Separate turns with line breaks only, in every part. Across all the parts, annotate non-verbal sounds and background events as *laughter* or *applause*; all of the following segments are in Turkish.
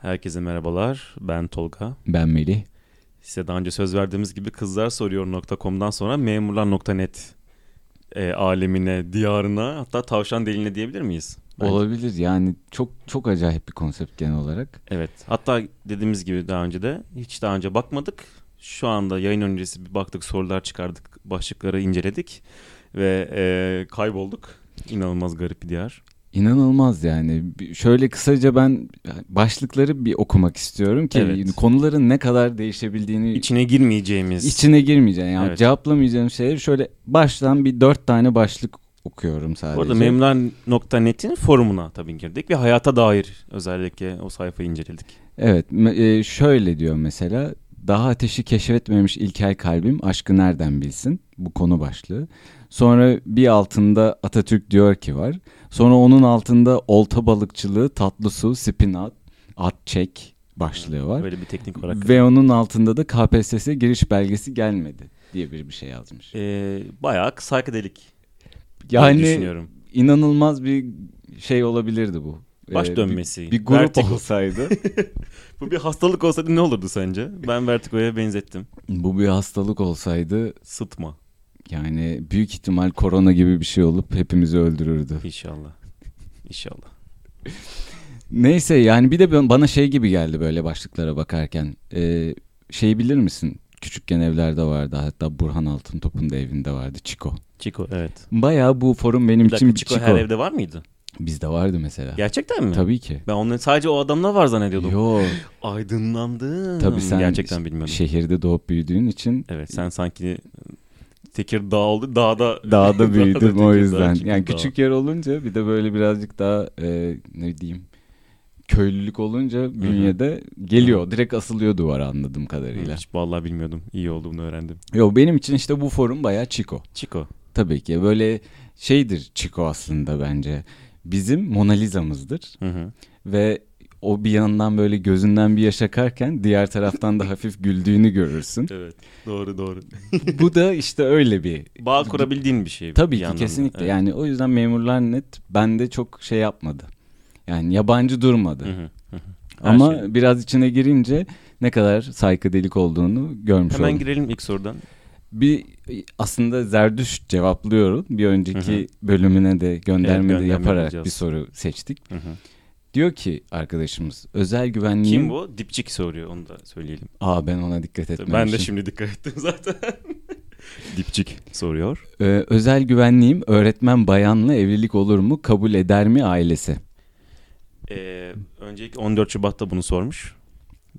Herkese merhabalar. Ben Tolga.
Ben Melih.
Size daha önce söz verdiğimiz gibi kızlarsoruyor.com'dan sonra memurlar.net e, alemine, diyarına hatta tavşan deliğine diyebilir miyiz? Bence.
Olabilir yani çok çok acayip bir konsept genel olarak.
Evet. Hatta dediğimiz gibi daha önce de hiç daha önce bakmadık. Şu anda yayın öncesi bir baktık sorular çıkardık, başlıkları inceledik ve e, kaybolduk. İnanılmaz garip bir diyar.
İnanılmaz yani. Bir- Şöyle kısaca ben başlıkları bir okumak istiyorum ki
Evet.
konuların ne kadar değişebildiğini
İçine girmeyeceğimiz.
içine girmeyeceğim. Yani
Evet.
cevaplamayacağım şeyleri şöyle baştan bir dört tane başlık okuyorum sadece.
Bu arada memurlar.net'in forumuna tabii girdik ve hayata dair özellikle o sayfayı inceledik.
Evet me- e, şöyle diyor mesela daha ateşi keşfetmemiş ilkel kalbim aşkı nereden bilsin bu konu başlığı. Sonra bir altında Atatürk diyor ki var. Sonra onun altında olta balıkçılığı, tatlı su, spinat, at çek başlığı var.
Böyle bir teknik olarak.
Ve onun altında da KPSS giriş belgesi gelmedi diye bir bir şey yazmış.
Ee, bayağı psychedelic yani,
Yani
düşünüyorum.
inanılmaz bir şey olabilirdi bu.
Baş
Ee, bir-
dönmesi.
Bir, grup
vertigo. *laughs*
olsaydı.
Bu bir hastalık olsaydı ne olurdu sence? Ben vertigoya benzettim.
bu bir hastalık olsaydı
Sıtma
Yani büyük ihtimal korona gibi bir şey olup hepimizi öldürürdü.
inşallah. İnşallah.
Neyse yani bir de ben- bana şey gibi geldi böyle başlıklara bakarken. Ee, şey bilir misin? Küçükken evlerde vardı hatta Burhan Altıntop'un da evinde vardı Çiko.
Çiko evet.
Bayağı bu forum benim
Bir dakika
için
Çiko,
Çiko.
her evde var mıydı?
Bizde vardı mesela.
Gerçekten mi?
Tabii ki.
Ben onların sadece o adamla var zannediyordum.
Yo
Aydınlandım.
tabii sen Şey-
Gerçekten bilmiyordum.
şehirde doğup büyüdüğün için
Evet sen sanki Tekirdağ oldu. *laughs* Dağda
dağda büyüdüm o
Tekirdağ,
yüzden.
Tekirdağ.
Yani küçük yer olunca bir de böyle birazcık daha e, ne diyeyim köylülük olunca bünyede geliyor. Direkt asılıyor duvara anladığım kadarıyla.
Hiç vallahi bilmiyordum. İyi oldu bunu öğrendim.
Yo benim için işte bu forum bayağı çiko.
Çiko.
Tabii ki böyle şeydir çiko aslında bence. Bizim Mona Lisa'mızdır
Hı hı.
ve o bir yandan böyle gözünden bir yaş akarken diğer taraftan da hafif güldüğünü görürsün.
Evet. Doğru doğru.
bu da işte öyle bir
Bağ kurabildiğin bir şey. bir
Tabii ki
yandan da.
kesinlikle.
Evet.
Yani o yüzden memurlar net bende çok şey yapmadı. Yani yabancı durmadı.
Hı hı. Her
Ama
şey.
biraz içine girince ne kadar saykıdelik olduğunu görmüş
Hemen
oldum.
girelim ilk sorudan.
bir aslında Zerdüşt cevaplıyoruz. Bir önceki
Hı
bölümüne de gönderme de
gönderme
yaparak
yapacağız.
bir soru seçtik.
Hı hı.
Diyor ki arkadaşımız özel güvenliğin...
Kim bu? Dipçik soruyor onu da söyleyelim.
Aa ben ona dikkat etmemişim.
Ben de şimdi dikkat ettim zaten. *laughs* Dipçik soruyor.
Ee, özel güvenliğim öğretmen bayanla evlilik olur mu? Kabul eder mi ailesi?
Ee, öncelikle 14 Şubat'ta bunu sormuş.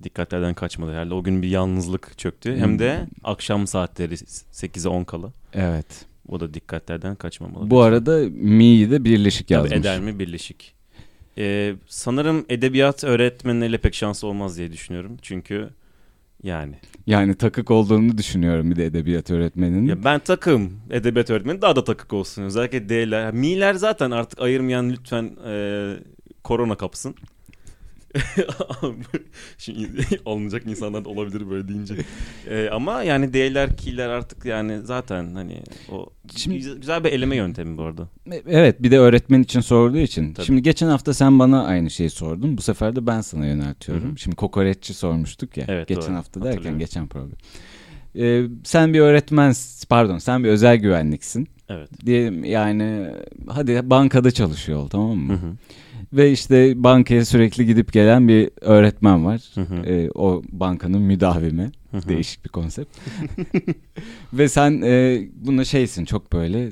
Dikkatlerden kaçmadı herhalde. O gün bir yalnızlık çöktü. Hem
Hmm.
de akşam saatleri 8'e 10 kala.
Evet.
O da dikkatlerden kaçmamalı.
Bu arada mi'yi de birleşik
Tabii
yazmış.
eder mi birleşik. Ee, sanırım edebiyat öğretmeniyle pek şans olmaz diye düşünüyorum. Çünkü yani.
Yani takık olduğunu düşünüyorum bir de edebiyat öğretmeninin.
Ya ben takım edebiyat öğretmeni daha da takık olsun. Özellikle D'ler. Mi'ler zaten artık ayırmayan lütfen e, korona kapsın. *laughs* Şimdi *laughs* alınacak insanlar da olabilir böyle deyince. E, ama yani D'ler, K'ler artık yani zaten hani o
Şimdi-
güzel, güzel bir eleme yöntemi bu arada.
E, Evet bir de öğretmen için sorduğu için.
Tabii.
Şimdi geçen hafta sen bana aynı şeyi sordun. Bu sefer de ben sana yöneltiyorum.
Hı hı.
Şimdi kokoreççi sormuştuk ya.
Evet,
geçen
doğru.
hafta derken
Hatırlıyorum.
geçen program. Ee, sen bir öğretmen pardon sen bir özel güvenliksin.
Evet.
Diyelim yani hadi bankada çalışıyor ol tamam
Hı
mı?
hı.
Ve işte bankaya sürekli gidip gelen bir öğretmen var.
Hı hı.
Ee, o bankanın müdavimi.
Hı hı.
Değişik bir konsept. *laughs* Ve sen e, buna şeysin çok böyle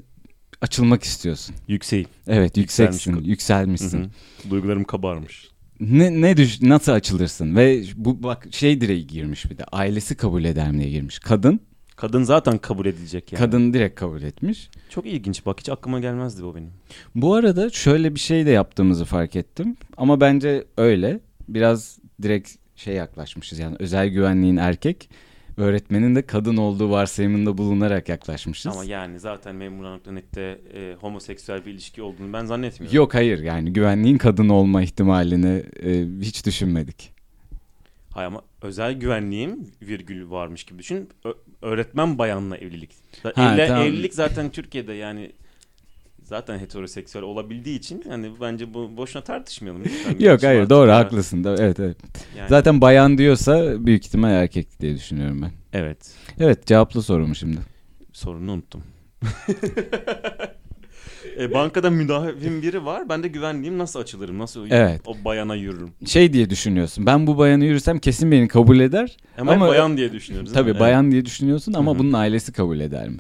açılmak istiyorsun.
Yükseğim.
Evet
Yükselmiş
yükseksin,
ko-
yükselmişsin.
Hı hı. Duygularım kabarmış.
Ne ne düş nasıl açılırsın ve bu bak şey direği girmiş bir de ailesi kabul eder mi diye girmiş. Kadın
Kadın zaten kabul edilecek yani.
kadın direkt kabul etmiş.
Çok ilginç bak hiç aklıma gelmezdi bu benim.
Bu arada şöyle bir şey de yaptığımızı fark ettim ama bence öyle biraz direkt şey yaklaşmışız yani özel güvenliğin erkek öğretmenin de kadın olduğu varsayımında bulunarak yaklaşmışız.
Ama yani zaten memurlar.net'te e, homoseksüel bir ilişki olduğunu ben zannetmiyorum.
Yok hayır yani güvenliğin kadın olma ihtimalini e, hiç düşünmedik.
Hayır ama özel güvenliğim virgül varmış gibi düşün. Ö- öğretmen bayanla evlilik.
Ha,
Evle-
tamam.
Evlilik zaten Türkiye'de yani zaten heteroseksüel olabildiği için yani bence bu boşuna tartışmayalım.
*laughs*
lütfen.
Yok hayır
Artık
doğru
ya.
haklısın. Da, evet evet.
şey Yani-
Zaten bayan diyorsa büyük ihtimal erkek diye düşünüyorum ben.
Evet.
Evet cevaplı sorumu şimdi.
Sorunu unuttum. e, bankada müdavim biri var. Ben de güvenliğim nasıl açılırım? Nasıl
Evet.
o bayana yürürüm?
Şey diye düşünüyorsun. Ben bu bayanı yürürsem kesin beni kabul eder.
Hemen
Ama-
bayan diye düşünüyoruz. değil mi?
Tabii
Evet.
bayan diye düşünüyorsun ama
Hı hı.
bunun ailesi kabul eder mi?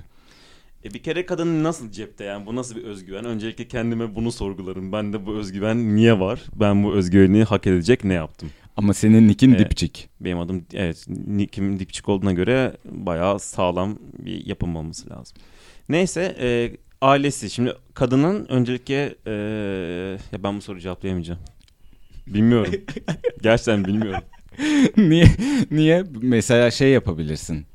E, bir kere kadının nasıl cepte yani bu nasıl bir özgüven? Öncelikle kendime bunu sorgularım. Ben de bu özgüven niye var? Ben bu özgüveni hak edecek ne yaptım?
Ama senin nikin
Evet.
dipçik. *laughs*
Benim adım evet Nick'im dipçik olduğuna göre bayağı sağlam bir yapım olması lazım. Neyse e, ailesi. Şimdi kadının öncelikle e, ya ben bu soruyu cevaplayamayacağım.
*laughs*
Bilmiyorum. Gerçekten bilmiyorum.
niye? Niye? Mesela şey yapabilirsin.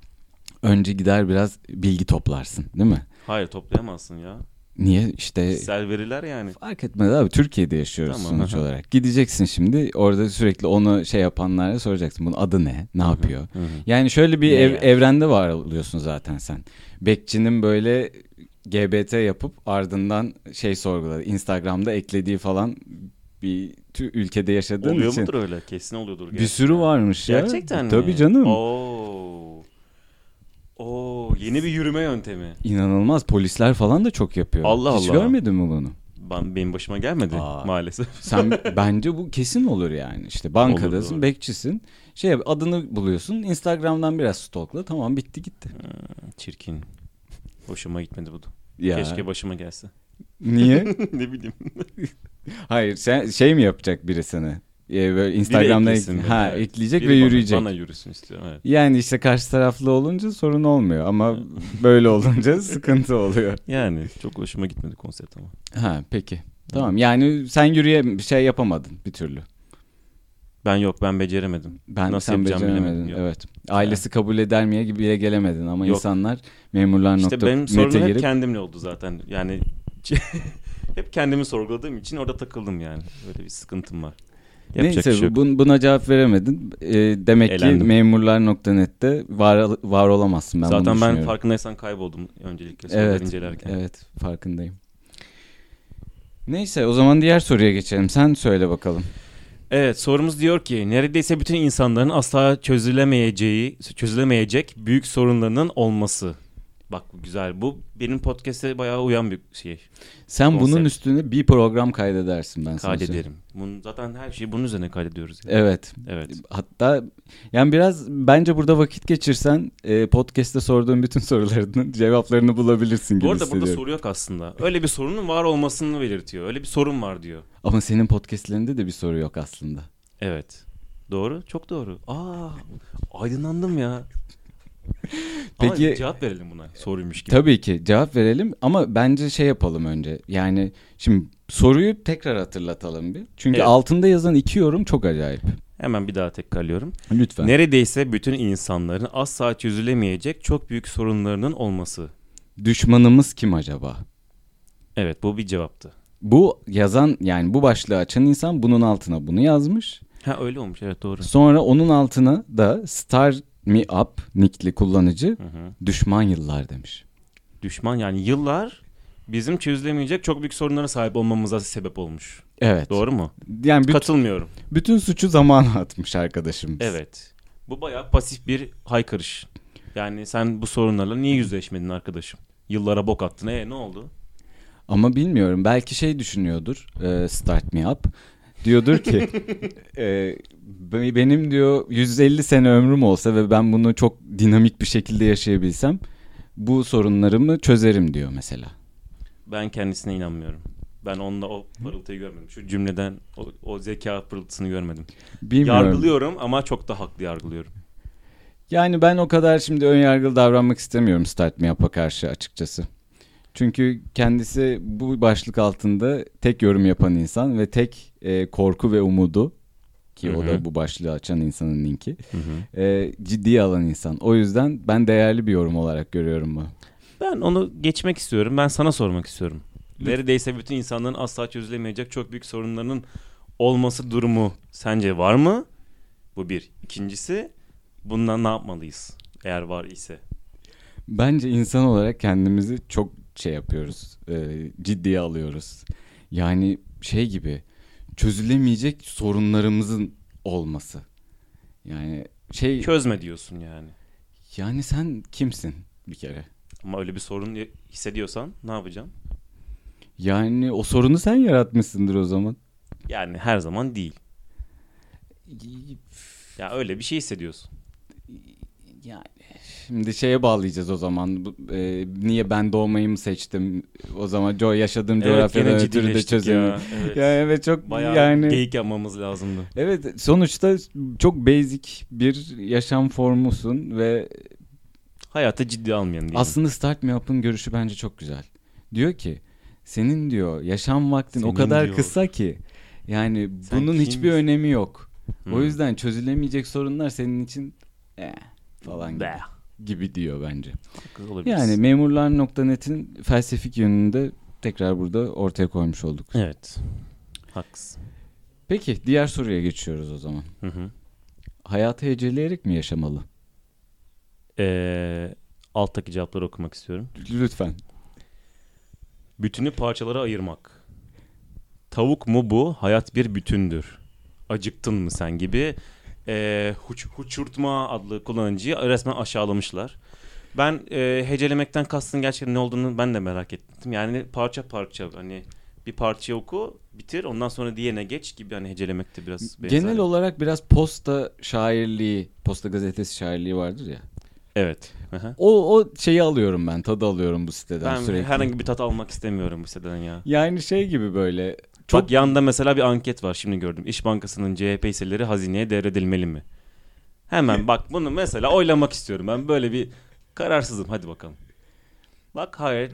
Önce gider biraz bilgi toplarsın değil mi?
Hayır toplayamazsın ya.
Niye? işte
Kişisel veriler yani.
Fark etmez abi Türkiye'de yaşıyoruz
Tamam,
sonuç
aha.
olarak. Gideceksin şimdi orada sürekli onu şey yapanlara soracaksın. Bunun adı ne? Ne yapıyor?
Hı hı.
Yani şöyle bir
Ne
ev-
yani?
evrende var oluyorsun zaten sen. Bekçinin böyle GBT yapıp ardından şey sorguladı. Instagram'da eklediği falan bir tü- ülkede yaşadığın
Oluyor
için.
mudur öyle? Kesin oluyordur.
Bir sürü varmış ya.
Gerçekten mi?
Tabii canım.
Oo. Oo, yeni bir yürüme yöntemi.
İnanılmaz polisler falan da çok yapıyor.
Allah
Hiç
Allah.
görmedin mi bunu?
Ben, benim başıma gelmedi
Aa.
maalesef. *laughs*
Sen bence bu kesin olur yani. İşte bankadasın,
Olur, doğru.
bekçisin. Şey yap- adını buluyorsun. Instagram'dan biraz stalkla. Tamam bitti gitti.
Ee, Çirkin. *laughs* Hoşuma gitmedi bu da.
Ya
Keşke başıma
*laughs*
gelse. *laughs*
niye?
ne bileyim.
Hayır, sen şey mi yapacak biri sana? Ee, böyle Instagram'dan
eklesin
ek-
beni,
ha
evet.
ekleyecek
Biri
ve
bana-
yürüyecek.
Bana yürüsün istiyorum evet.
Yani işte karşı taraflı olunca sorun olmuyor
*laughs*
ama böyle olunca sıkıntı oluyor.
Yani çok hoşuma gitmedi konsept ama.
Ha peki. Tamam yani sen yürüye bir şey yapamadın bir türlü.
Ben yok ben beceremedim.
Ben
Nasıl
sen
yapacağımı bilemedim,
beceremedin.
yok.
Evet. Ailesi kabul eder miye gibi bile gelemedin ama
Yok.
insanlar memurlar
İşte
nokta
benim sorunum
nete
hep
girip
kendimle oldu zaten. Yani *laughs* hep kendimi sorguladığım için orada takıldım yani. Böyle bir sıkıntım var. Yapacak
Neyse
bir şey yok.
bun- buna cevap veremedin. Ee, demek ki
Elendim.
memurlar.net'te var var olamazsın ben bunu
Zaten ben
düşünüyorum.
farkındaysan kayboldum öncelikle soruları
Evet.
incelerken.
Evet, farkındayım. Neyse o zaman diğer soruya geçelim. Sen söyle bakalım.
Evet sorumuz diyor ki neredeyse bütün insanların asla çözülemeyeceği, çözülemeyecek büyük sorunlarının olması. Bak bu güzel bu benim podcast'e bayağı uyan bir şey.
Sen bunun
Konsept.
üstüne bir program kaydedersin ben sana söyleyeyim.
Kaydederim. Bunu, zaten her şeyi bunun üzerine kaydediyoruz. yani.
Evet.
Evet.
Hatta yani biraz bence burada vakit geçirsen e, podcast'te sorduğum bütün sorularının *laughs* cevaplarını bulabilirsin gibi
Bu arada burada
hissediyorum.
soru yok aslında. Öyle bir sorunun var olmasını belirtiyor. Öyle bir sorun var diyor.
Ama senin podcast'lerinde de bir soru yok aslında.
Evet. Doğru. Çok doğru. Aa aydınlandım ya.
Peki-
Ama cevap verelim buna soruymuş gibi.
Tabii ki cevap verelim ama bence şey yapalım önce. Yani şimdi soruyu tekrar hatırlatalım bir. Çünkü
Evet.
altında yazan iki yorum çok acayip.
Hemen bir daha tekrarlıyorum.
Lütfen.
Neredeyse bütün insanların asla çözülemeyecek çok büyük sorunlarının olması.
Düşmanımız kim acaba?
Evet bu bir cevaptı.
Bu yazan yani bu başlığı açan insan bunun altına bunu yazmış.
Ha öyle olmuş evet doğru.
Sonra onun altına da Star Me Up nickli kullanıcı
Hı hı.
düşman yıllar demiş.
Düşman yani yıllar bizim çözülemeyecek çok büyük sorunlara sahip olmamıza sebep olmuş.
Evet.
Doğru mu?
Yani büt-
Katılmıyorum.
bütün suçu zamana atmış arkadaşımız.
Evet. Bu bayağı pasif bir haykırış. Yani sen bu sorunlarla niye yüzleşmedin arkadaşım? Yıllara bok attın. E ne oldu?
Ama bilmiyorum belki şey düşünüyordur e, Start Me Up.
*laughs*
Diyordur ki e, be- benim diyor 150 sene ömrüm olsa ve ben bunu çok dinamik bir şekilde yaşayabilsem bu sorunlarımı çözerim diyor mesela.
Ben kendisine inanmıyorum. Ben onunla o pırıltıyı görmedim. Şu cümleden o, o zeka pırıltısını görmedim.
Bilmiyorum.
Yargılıyorum ama çok da haklı yargılıyorum.
Yani ben o kadar şimdi ön yargılı davranmak istemiyorum Start Me Up'a karşı açıkçası. Çünkü kendisi bu başlık altında tek yorum yapan insan ve tek e, korku ve umudu ki o
Hı hı.
da bu başlığı açan insanın linki. e, ciddiye alan insan. O yüzden ben değerli bir yorum olarak görüyorum bunu.
Ben onu geçmek istiyorum. Ben sana sormak istiyorum. Neredeyse bütün insanların asla çözülemeyecek çok büyük sorunlarının olması durumu sence var mı? Bu bir. İkincisi bundan ne yapmalıyız? Eğer var ise.
Bence insan olarak kendimizi çok şey yapıyoruz, e, ciddiye alıyoruz. Yani şey gibi çözülemeyecek sorunlarımızın olması. Yani şey
Çözme diyorsun yani.
yani sen kimsin bir kere?
Ama öyle bir sorun hissediyorsan ne yapacaksın?
Yani o sorunu sen yaratmışsındır o zaman.
Yani her zaman değil. Ya öyle bir şey hissediyorsun.
Yani şimdi şeye bağlayacağız o zaman. Bu, e, niye ben doğmayı mı seçtim? O zaman co yaşadığım coğrafyadan ötürü de çözüm.
ya. Evet.
Yani evet çok
Bayağı
yani
geyik yapmamız lazımdı.
evet sonuçta çok basic bir yaşam formusun ve
Hayata ciddi almayan diyelim.
aslında Start Me Up'ın görüşü bence çok güzel. Diyor ki senin diyor yaşam vaktin o
Senin
kadar
diyor.
kısa ki yani
Sen
bunun hiçbir
kimsin? Hmm.
önemi yok.
Hı.
O yüzden çözülemeyecek sorunlar senin için eh, falan gibi,
Be,
gibi diyor bence.
haklı olabiliriz.
Yani memurlar.net'in felsefik yönünü de tekrar burada ortaya koymuş olduk.
Evet. Haklısın.
Peki diğer soruya geçiyoruz o zaman.
Hı hı.
Hayatı heceleyerek mi yaşamalı?
Ee, alttaki cevapları okumak istiyorum.
Lütfen.
Bütünü parçalara ayırmak. Tavuk mu bu? Hayat bir bütündür. Acıktın mı sen gibi ee, huç, huçurtma adlı kullanıcıyı resmen aşağılamışlar. Ben e, hecelemekten kastın gerçekten ne olduğunu ben de merak ettim. Yani parça parça hani bir parça oku bitir ondan sonra diğerine geç gibi hani hecelemekte biraz benzer.
Genel olarak biraz posta şairliği, posta gazetesi şairliği vardır ya.
Evet. Aha.
O, o şeyi alıyorum ben, tadı alıyorum bu siteden
Ben
Ee, sürekli.
herhangi bir tat almak istemiyorum bu siteden ya.
Yani şey gibi böyle.
Çok...
Çok
Bak yanında mesela bir anket var şimdi gördüm. İş Bankası'nın CHP hisseleri hazineye devredilmeli mi? Hemen bak bunu mesela oylamak istiyorum. Ben böyle bir kararsızım hadi bakalım. Bak hayır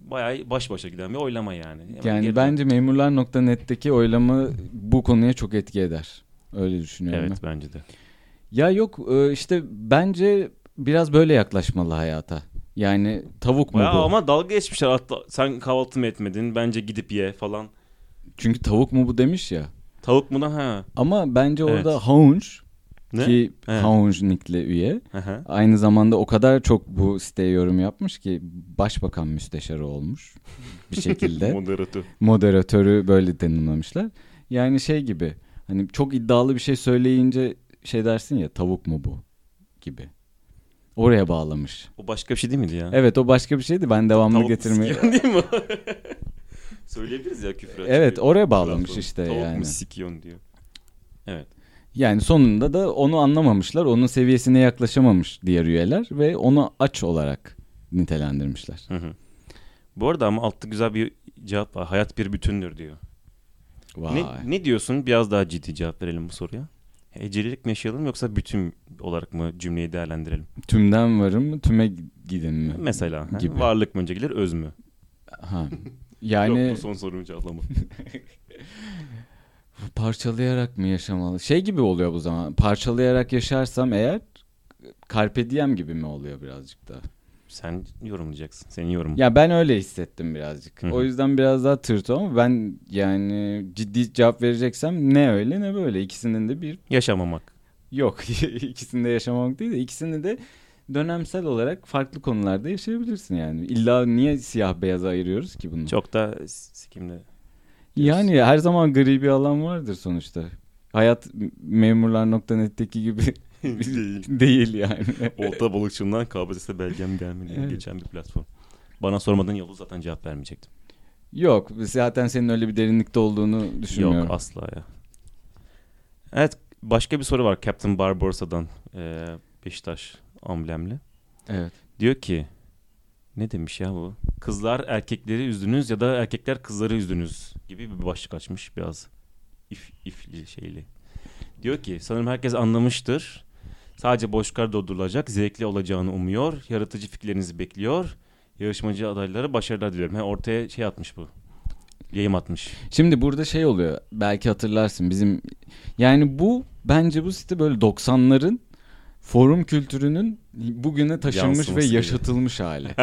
bayağı baş başa giden bir oylama yani. Hemen
yani
geri-
bence memurlar.net'teki oylama bu konuya çok etki eder. Öyle düşünüyorum ben.
Evet bence de.
Ya yok e, işte bence biraz böyle yaklaşmalı hayata. Yani tavuk mu
Bayağı
bu?
ama dalga geçmişler. Hatta sen kahvaltı mı etmedin? Bence gidip ye falan.
Çünkü tavuk mu bu demiş ya.
Tavuk mu lan ha?
Ama bence orada
Evet.
Haunch
Ne?
ki
He.
Haunch nickli üye.
Hı hı.
Aynı zamanda o kadar çok bu siteye yorum yapmış ki başbakan müsteşarı olmuş
*laughs*
bir şekilde.
Moderatör.
Moderatörü böyle tanımlamışlar. Yani şey gibi hani çok iddialı bir şey söyleyince şey dersin ya tavuk mu bu gibi. Oraya bağlamış.
O başka bir şey değil miydi ya?
Evet o başka bir şeydi ben devamlı
Tavuk
getirmeye.
mu sikiyorsun değil mi? *laughs* Söyleyebiliriz ya küfür açık
Evet
bir
oraya bağlamış
platform.
işte
Tavuk
yani.
mu sikiyorsun diyor. Evet.
Yani sonunda da onu anlamamışlar. Onun seviyesine yaklaşamamış diğer üyeler ve onu aç olarak nitelendirmişler.
Hı hı. Bu arada ama altta güzel bir cevap var. Hayat bir bütündür diyor.
Vay.
Ne, ne diyorsun? Biraz daha ciddi cevap verelim bu soruya. Hecelilik mi yaşayalım yoksa bütün olarak mı cümleyi değerlendirelim?
Tümden varım mı tüme gidin mi?
Mesela ha,
Gibi.
varlık mı önce gelir öz mü?
Ha.
Yok
Yani
bu son sorunun cevaplama.
parçalayarak mı yaşamalı? Şey gibi oluyor bu zaman. Parçalayarak yaşarsam eğer Carpe diem gibi mi oluyor birazcık da?
Sen yorumlayacaksın. Senin yorumun.
Ya ben öyle hissettim birazcık.
Hı hı.
O yüzden biraz daha tırt ama ben yani ciddi cevap vereceksem ne öyle ne böyle. İkisinin de bir
Yaşamamak.
Yok *laughs* ikisini de yaşamamak değil de ikisini de dönemsel olarak farklı konularda yaşayabilirsin yani. İlla niye siyah beyaza ayırıyoruz ki bunu?
Çok da s- *laughs* sikimle.
Yani her zaman gri bir alan vardır sonuçta. Hayat memurlar.net'teki gibi *laughs*
Değil.
değil yani.
Olta balıkçımdan KBS'de belgem gelmedi.
Evet.
Geçen bir platform. Bana sormadan Yavuz zaten cevap vermeyecektim.
Yok zaten senin öyle bir derinlikte olduğunu düşünmüyorum.
Yok asla ya. Evet başka bir soru var Captain Barbarossa'dan eee, Beşiktaş amblemli.
Evet.
Diyor ki ne demiş ya bu? Kızlar erkekleri üzdünüz ya da erkekler kızları üzdünüz gibi bir başlık açmış biraz if, ifli şeyli. Diyor ki sanırım herkes anlamıştır. Sadece boşkar doldurulacak, zevkli olacağını umuyor, yaratıcı fikirlerinizi bekliyor. Yarışmacı adaylara başarılar diliyorum. He, ortaya şey atmış bu. Yayım atmış.
Şimdi burada şey oluyor belki hatırlarsın bizim yani bu bence bu site böyle 90'ların forum kültürünün bugüne taşınmış
Yansıması
ve
gibi.
yaşatılmış *laughs* hali.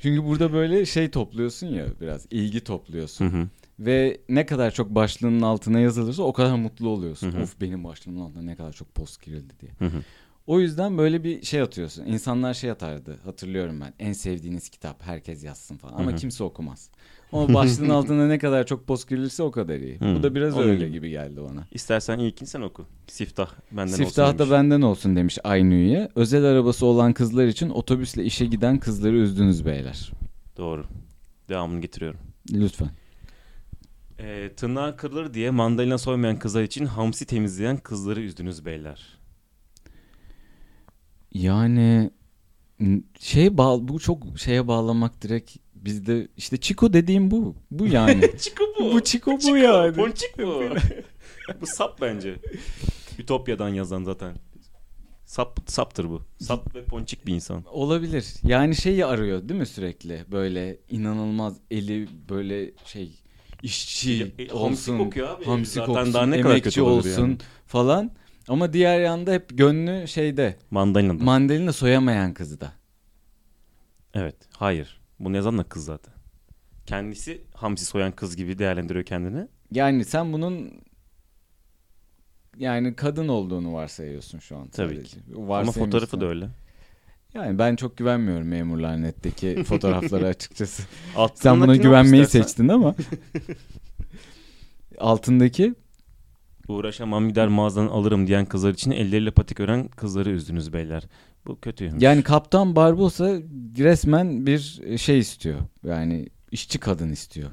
Çünkü burada böyle şey topluyorsun ya biraz ilgi topluyorsun
Hı hı.
ve ne kadar çok başlığının altına yazılırsa o kadar mutlu oluyorsun.
Hı hı.
Of benim başlığımın altına ne kadar çok post girildi diye.
Hı hı.
O yüzden böyle bir şey atıyorsun. İnsanlar şey atardı hatırlıyorum ben. En sevdiğiniz kitap herkes yazsın falan ama
Hı hı.
kimse okumaz. Ama başlığın altında ne kadar çok post girilirse o kadar iyi.
Hı.
Bu da biraz
Onun
öyle
gibi.
gibi geldi bana.
İstersen ilkin sen oku. Siftah benden
Siftah
olsun demiş.
da benden olsun demiş Aynü'ye. Özel arabası olan kızlar için otobüsle işe giden kızları üzdünüz beyler.
Doğru. Devamını getiriyorum.
Lütfen.
Ee, tırnağı kırılır diye mandalina soymayan kızlar için hamsi temizleyen kızları üzdünüz beyler.
Yani n- şey bağ- bu çok şeye bağlamak direkt bizde işte Chico dediğim bu. Bu yani.
*laughs* Çiko
bu Chico bu yani.
Ponçik bu. bu sap bence. Ütopya'dan yazan zaten. Sap, saptır bu. Sap ve ponçik bir insan.
Olabilir. Yani şeyi arıyor değil mi sürekli? Böyle inanılmaz eli böyle şey işçi
E, e, hamsi
olsun.
kokuyor abi.
hamsi
Zaten
koksun,
daha ne kadar
emekçi
kötü olabilir
olsun
yani?
falan. Ama diğer yanda hep gönlü şeyde.
Mandalina.
Mandalina soyamayan kızda.
evet. Hayır. Bunu yazan da kız zaten. Kendisi hamsi soyan kız gibi değerlendiriyor kendini.
Yani sen bunun yani kadın olduğunu varsayıyorsun şu an.
Tabii
sadece.
Ama
Varsayımsın.
fotoğrafı da öyle.
Yani ben çok güvenmiyorum
*laughs*
memurlar netteki fotoğraflara açıkçası. Sen
Altındakini
buna
oku
güvenmeyi
istersen.
seçtin ama.
*laughs*
Altındaki
Uğraşamam gider mağazadan alırım diyen kızlar için elleriyle patik ören kızları üzdünüz beyler. Bu kötüymüş.
yani Kaptan Barbosa resmen bir şey istiyor. Yani işçi kadın istiyor.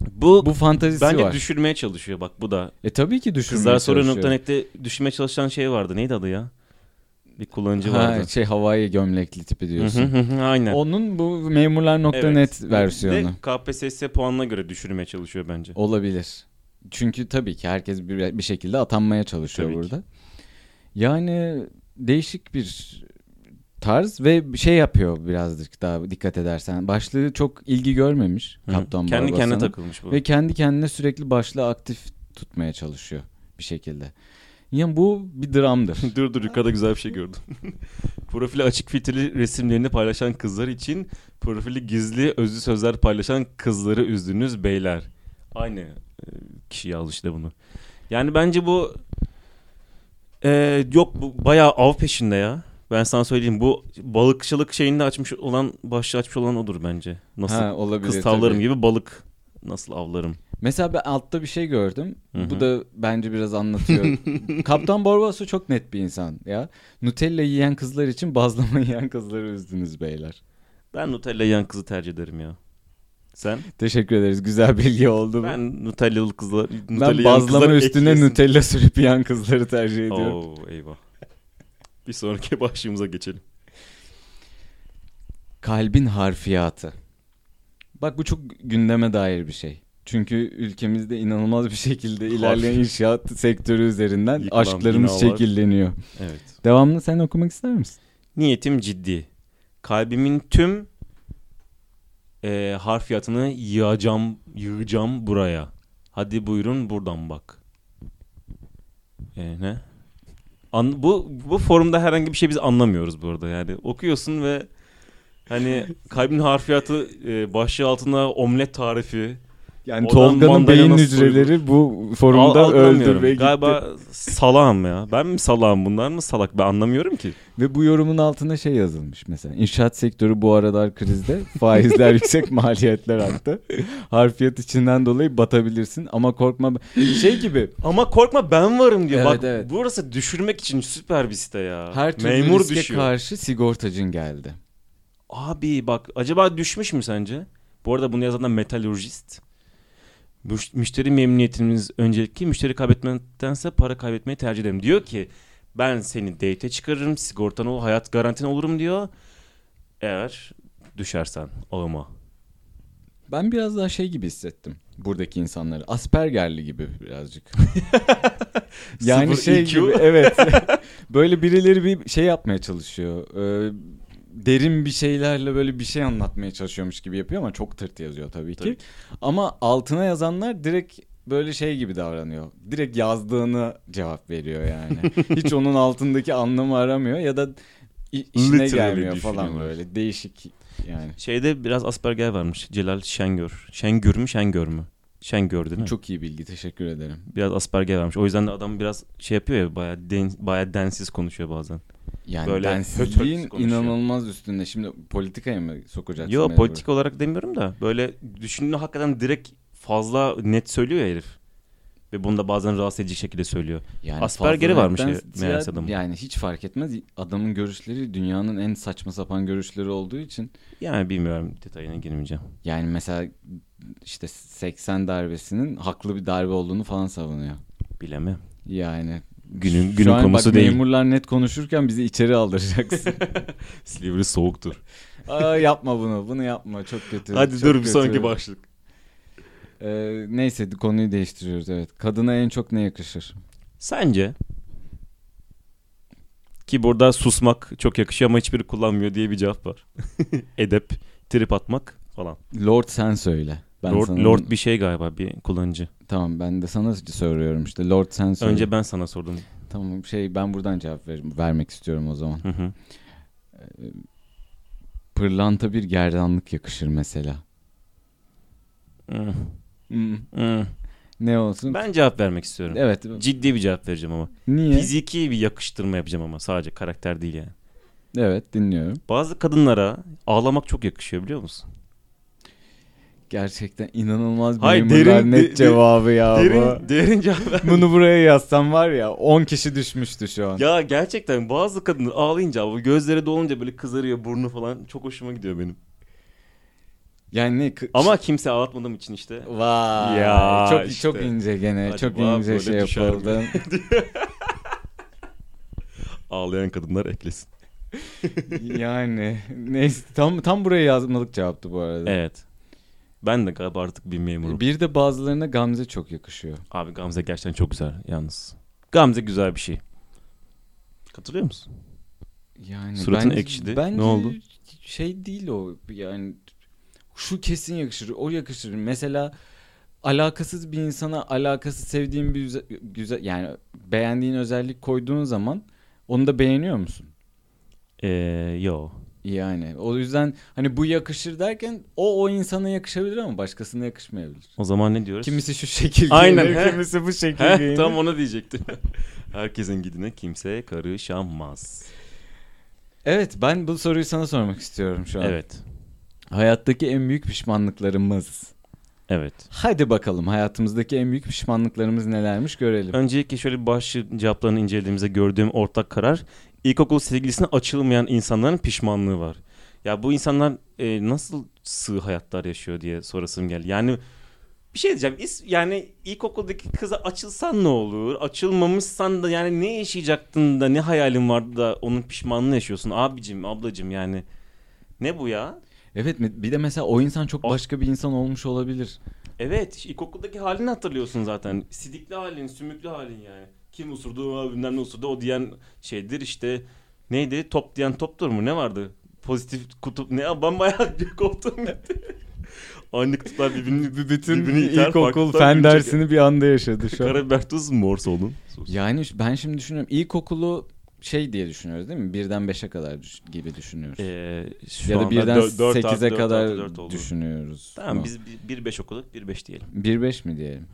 bu,
Bu fantazisi
bence
var.
düşürmeye çalışıyor bak bu da.
e tabii ki düşürmeye
Kızlar
çalışıyor.
soruyor.net'te düşürmeye çalışan şey vardı. Neydi adı ya? Bir kullanıcı
Ha,
vardı.
şey havai gömlekli tipi
Hı
diyorsun.
hı hı hı, Aynen.
Onun bu memurlar.net
Evet.
versiyonu.
Bir de KPSS puanına göre düşürmeye çalışıyor bence.
Olabilir. Çünkü tabii ki herkes bir, bir şekilde atanmaya çalışıyor
Tabii ki.
burada. Yani değişik bir tarz ve şey yapıyor birazcık daha dikkat edersen. Başlığı çok ilgi görmemiş
Hı hı.
Kaptan
Kendi kendine
Barbasan'ın.
takılmış bu.
Ve kendi kendine sürekli başlığı aktif tutmaya çalışıyor bir şekilde. Yani bu bir dramdır.
dur dur yukarıda güzel bir şey
*laughs*
gördüm. Profili açık filtreli resimlerini paylaşan kızlar için profili gizli özlü sözler paylaşan kızları üzdünüz beyler. Aynı e, kişi yazdı işte bunu. Yani bence bu e, yok bu bayağı av peşinde ya. Ben sana söyleyeyim bu balıkçılık şeyinde açmış olan başlığı açmış olan odur bence. *laughs* Nasıl
Ha, olabilir
kız tavlarım
tabii.
gibi balık nasıl avlarım.
Mesela ben altta bir şey gördüm.
Hı
Bu
hı.
da bence
*laughs*
biraz anlatıyor. Kaptan Barbasso çok net bir insan ya. Nutella yiyen kızlar için bazlama *laughs* yiyen kızları üzdünüz beyler.
Ben Nutella yiyen kızı tercih ederim ya. Sen?
Teşekkür ederiz. Güzel bilgi oldu bu. Ben,
Ben Nutellalı kızlar Nutella yiyen
bazlama
kızları
üstüne
ekleyesin.
Nutella sürüp yiyen kızları tercih ediyorum.
Oo eyvah. Bir sonraki *laughs* başlığımıza geçelim.
Kalbin harfiyatı. Bak bu çok gündeme dair bir şey. Çünkü ülkemizde inanılmaz bir şekilde ilerleyen inşaat sektörü üzerinden
Yıkılan
aşklarımız
binalar.
şekilleniyor.
Evet.
Devamlı sen okumak ister misin?
Niyetim ciddi. Kalbimin tüm eee harfiyatını yığacağım, yığacağım buraya. Hadi buyurun buradan bak. Eee ne? An- bu bu forumda herhangi bir şey biz anlamıyoruz burada yani. Okuyorsun ve hani kalbin harfiyatı eee, e, başlığı altında omlet tarifi.
Yani
Oradan
Tolga'nın beyin
mandalina soyulur.
hücreleri bu forumda
Al-
öldü
anlamıyorum.
ve gitti.
Galiba salağım ya. Ben mi salağım bunlar mı salak? Ben anlamıyorum ki.
Ve bu yorumun altına şey yazılmış mesela. İnşaat sektörü bu aralar krizde. *laughs* Faizler yüksek, maliyetler arttı. Harfiyat içinden dolayı batabilirsin ama korkma. Şey gibi.
Ama korkma ben varım diyor.
Evet,
Bak
evet.
burası düşürmek için süper bir site ya.
Her türlü
Memur
riske
düşüyor.
karşı sigortacın geldi.
Abi bak acaba düşmüş mü sence? Bu arada bunu yazan da metalurjist. Müş- Müşteri memnuniyetimiz öncelikli. Müşteri kaybetmektense para kaybetmeyi tercih ederim. Diyor ki ben seni date çıkarırım. Sigortan ol, hayat garantin olurum diyor. Eğer düşersen ağıma.
Ben biraz daha şey gibi hissettim. Buradaki insanları. Aspergerli gibi birazcık. yani
Sıfır
şey
IQ.
gibi evet. *laughs* böyle birileri bir şey yapmaya çalışıyor. Ee, derin bir şeylerle böyle bir şey anlatmaya çalışıyormuş gibi yapıyor ama çok tırt yazıyor tabii ki.
Tabii ki.
Ama altına yazanlar direkt böyle şey gibi davranıyor. Direkt yazdığını cevap
*laughs*
veriyor yani. Hiç onun altındaki anlamı aramıyor ya da i- işine
Literally
gelmiyor falan
düşünüyorlar.
böyle. Değişik yani.
Şeyde biraz asperger varmış. Celal Şengör. Şengür mü Şengör mü? Şengör değil mi?
Çok iyi bilgi teşekkür ederim.
Biraz asperge vermiş. O yüzden de adam biraz şey yapıyor ya bayağı, den, bayağı densiz konuşuyor bazen.
Yani
Böyle
densizliğin
hötört konuşuyor.
inanılmaz üstünde. Şimdi politikaya mı sokacaksın?
Yo
mecbur?
politik olarak demiyorum da böyle düşündüğünü hakikaten direkt fazla net söylüyor ya herif. Ve bunu da bazen rahatsız edici şekilde söylüyor.
Yani
Asperger'i varmış
fazla
ya-
renkten
meğerse
ziyade-
adamın.
Yani hiç fark etmez. Adamın görüşleri dünyanın en saçma sapan görüşleri olduğu için.
Yani bilmiyorum detayına girmeyeceğim.
Yani mesela işte 80 darbesinin haklı bir darbe olduğunu falan savunuyor.
Bilemem.
Yani
Günün-
şu
günün
an
konusu
bak,
değil.
Memurlar net konuşurken bizi
*laughs*
içeri aldıracaksın.
Silivri soğuktur.
Aa, yapma bunu, bunu yapma. Çok kötü.
Hadi
çok
dur bir
kötü.
sonraki başlık.
Ee, neyse konuyu değiştiriyoruz evet. Kadına en çok ne yakışır?
Sence ki burada susmak çok yakışıyor ama hiçbiri kullanmıyor diye bir cevap var. Edep, trip atmak falan.
Lord sen söyle. Ben
Lord,
sana...
Lord bir şey galiba bir kullanıcı.
Tamam ben de sana soruyorum işte. Lord sen söyle.
Önce ben sana sordum.
Tamam şey ben buradan cevap ver- vermek istiyorum o zaman.
Hı hı.
Pırlanta bir gerdanlık yakışır mesela.
Hı, hı.
Ne olsun?
Hmm. Ben cevap vermek istiyorum.
Evet.
Ciddi bir cevap vereceğim ama.
Niye?
Fiziki bir yakıştırma yapacağım ama sadece karakter değil yani.
Evet dinliyorum.
Bazı kadınlara ağlamak çok yakışıyor biliyor musun?
Gerçekten inanılmaz bir
Hayır,
memurlar
derin-
net
de-
cevabı ya
Derin, derin cevap
*laughs*
ver-
bu. Bunu buraya yazsam var ya 10 kişi düşmüştü şu an.
Ya gerçekten bazı kadınlar ağlayınca abi gözleri dolunca böyle kızarıyor burnu falan çok hoşuma gidiyor benim.
Yani ne? kı-
Ama kimse ağlatmadığım için işte.
Vay.
Ya
çok
işte.
çok ince gene.
Acaba
çok ince
böyle
şey
düşer mi? *laughs*
yapıldı.
Ağlayan kadınlar eklesin.
yani neyse tam tam buraya yazmalık cevaptı bu arada.
Evet. Ben de galiba artık bir memurum.
Bir de bazılarına Gamze çok yakışıyor.
Abi Gamze gerçekten çok güzel yalnız. Gamze güzel bir şey. Katılıyor musun?
Yani
Suratın
bence-
ekşidi.
bence
Ne oldu?
Şey değil o yani şu kesin yakışır o yakışır. Mesela alakasız bir insana alakasız sevdiğin bir üze- güzel yani beğendiğin özellik koyduğun zaman onu da beğeniyor musun?
Ee, yo.
Yani o yüzden hani bu yakışır derken o o insana yakışabilir ama başkasına yakışmayabilir.
O zaman ne diyoruz?
Kimisi şu şekil
Aynen,
giyinir,
he.
kimisi bu
*laughs*
şekil
Heh,
giyinir.
tam onu diyecektim. *laughs* Herkesin gidine kimse karışamaz.
Evet ben bu soruyu sana sormak istiyorum şu an.
Evet.
Hayattaki en büyük pişmanlıklarımız.
Evet.
Hadi bakalım hayatımızdaki en büyük pişmanlıklarımız nelermiş görelim.
Öncelikle şöyle başlık cevaplarını incelediğimizde gördüğüm ortak karar ilkokul sevgilisine açılmayan insanların pişmanlığı var. Ya bu insanlar e, nasıl sığ hayatlar yaşıyor diye sorasım geldi. Yani bir şey diyeceğim. İs- yani ilkokuldaki kıza açılsan ne olur? Açılmamışsan da yani ne yaşayacaktın da ne hayalin vardı da onun pişmanlığını yaşıyorsun abicim, ablacım yani. Ne bu ya?
Evet mi- bir de mesela o insan çok başka bir insan olmuş olabilir.
Evet ilkokuldaki halini hatırlıyorsun zaten. Sidikli halin, sümüklü halin yani. Kim usurdu, "Aa, bilmem ne usurdu o diyen şeydir işte. Neydi? Top diyen toptur mu? Ne vardı? Pozitif kutup ne? *laughs* Aa, Bambaşka bir koptum gitti. *laughs* Aynı kutuplar birbirini
Bütün
birbirini iter,
ilkokul
farklı şey.
fen
birbirini çeker.
dersini bir anda yaşadı şu an.
Karabiber tuz mor solun. Sus.
Yani ş- ben şimdi düşünüyorum ilkokulu şey diye düşünüyoruz değil mi? Birden beşe kadar düş- gibi düşünüyoruz.
Ee, şu
ya da
anda
birden
dö- dört artı
sekize
dört
kadar
artı dört oldu.
düşünüyoruz.
Tamam biz 1-5 okuduk 1-5 diyelim.
Bir beş mi diyelim?